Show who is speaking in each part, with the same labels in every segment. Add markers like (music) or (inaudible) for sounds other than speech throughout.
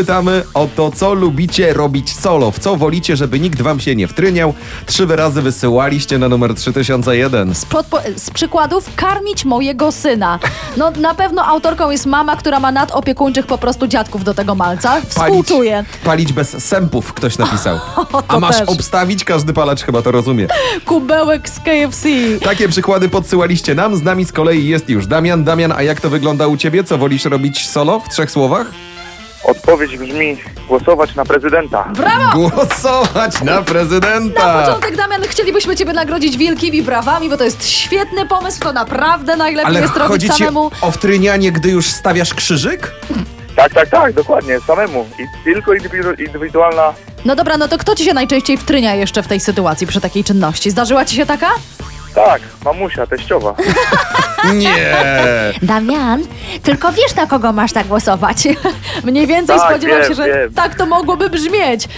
Speaker 1: Pytamy o to, co lubicie robić solo, w co wolicie, żeby nikt wam się nie wtryniał. Trzy wyrazy wysyłaliście na numer 3001.
Speaker 2: z, podpo- z przykładów karmić mojego syna. No na pewno autorką jest mama, która ma nadopiekuńczych po prostu dziadków do tego malca. Współczuję.
Speaker 1: palić bez sępów, ktoś
Speaker 2: (laughs)
Speaker 1: napisał.
Speaker 2: to
Speaker 1: A masz
Speaker 2: też.
Speaker 1: obstawić, każdy palacz chyba to rozumie.
Speaker 2: Kubełek z KFC.
Speaker 1: Takie przykłady podsyłaliście nam, z nami z kolei jest już Damian. Damian, a jak to wygląda u ciebie? Co wolisz robić solo w trzech słowach?
Speaker 3: Odpowiedź brzmi głosować na prezydenta.
Speaker 2: Brawo!
Speaker 1: Głosować na
Speaker 2: Na
Speaker 1: prezydenta!
Speaker 2: początek, Damian, chcielibyśmy Ciebie nagrodzić wielkimi brawami, bo to jest świetny pomysł, to naprawdę najlepiej
Speaker 1: Ale
Speaker 2: jest robić
Speaker 1: chodzi ci
Speaker 2: samemu.
Speaker 1: o wtrynianie, gdy już stawiasz krzyżyk?
Speaker 3: Tak, tak, tak, dokładnie, samemu. I tylko indywidu- indywidualna.
Speaker 2: No dobra, no to kto Ci się najczęściej wtrynia jeszcze w tej sytuacji, przy takiej czynności? Zdarzyła Ci się taka?
Speaker 3: Tak, mamusia, teściowa.
Speaker 2: (laughs)
Speaker 1: Nie!
Speaker 2: Damian, tylko wiesz, na kogo masz tak głosować. (laughs) Mniej więcej
Speaker 3: Tak,
Speaker 2: spodziewam
Speaker 3: wiem,
Speaker 2: się, że
Speaker 3: wiem.
Speaker 2: tak to mogłoby brzmieć. Y,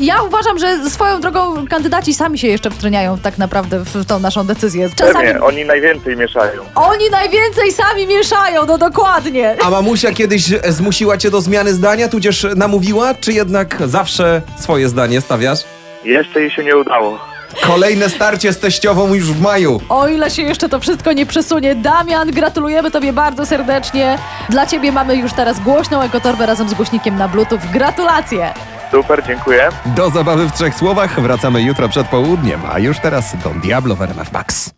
Speaker 2: Ja uważam, że swoją drogą kandydaci sami się jeszcze wtreniają tak naprawdę w w tą naszą decyzję. Czasami
Speaker 3: Pewnie, oni najwięcej mieszają.
Speaker 2: oni najwięcej sami mieszają, no dokładnie.
Speaker 1: A mamusia kiedyś zmusiła cię do zmiany zdania, tudzież namówiła, czy jednak zawsze swoje zdanie stawiasz?
Speaker 3: Jeszcze jej się nie udało.
Speaker 1: Kolejne starcie z teściową już w maju.
Speaker 2: O ile się jeszcze to wszystko nie przesunie. Damian, gratulujemy Tobie bardzo serdecznie. Dla Ciebie mamy już teraz głośną ekotorbę razem z głośnikiem na bluetooth. Gratulacje!
Speaker 3: Super, dziękuję.
Speaker 1: Do zabawy w trzech słowach wracamy jutro przed południem, a już teraz Don Diablo w RMF Max.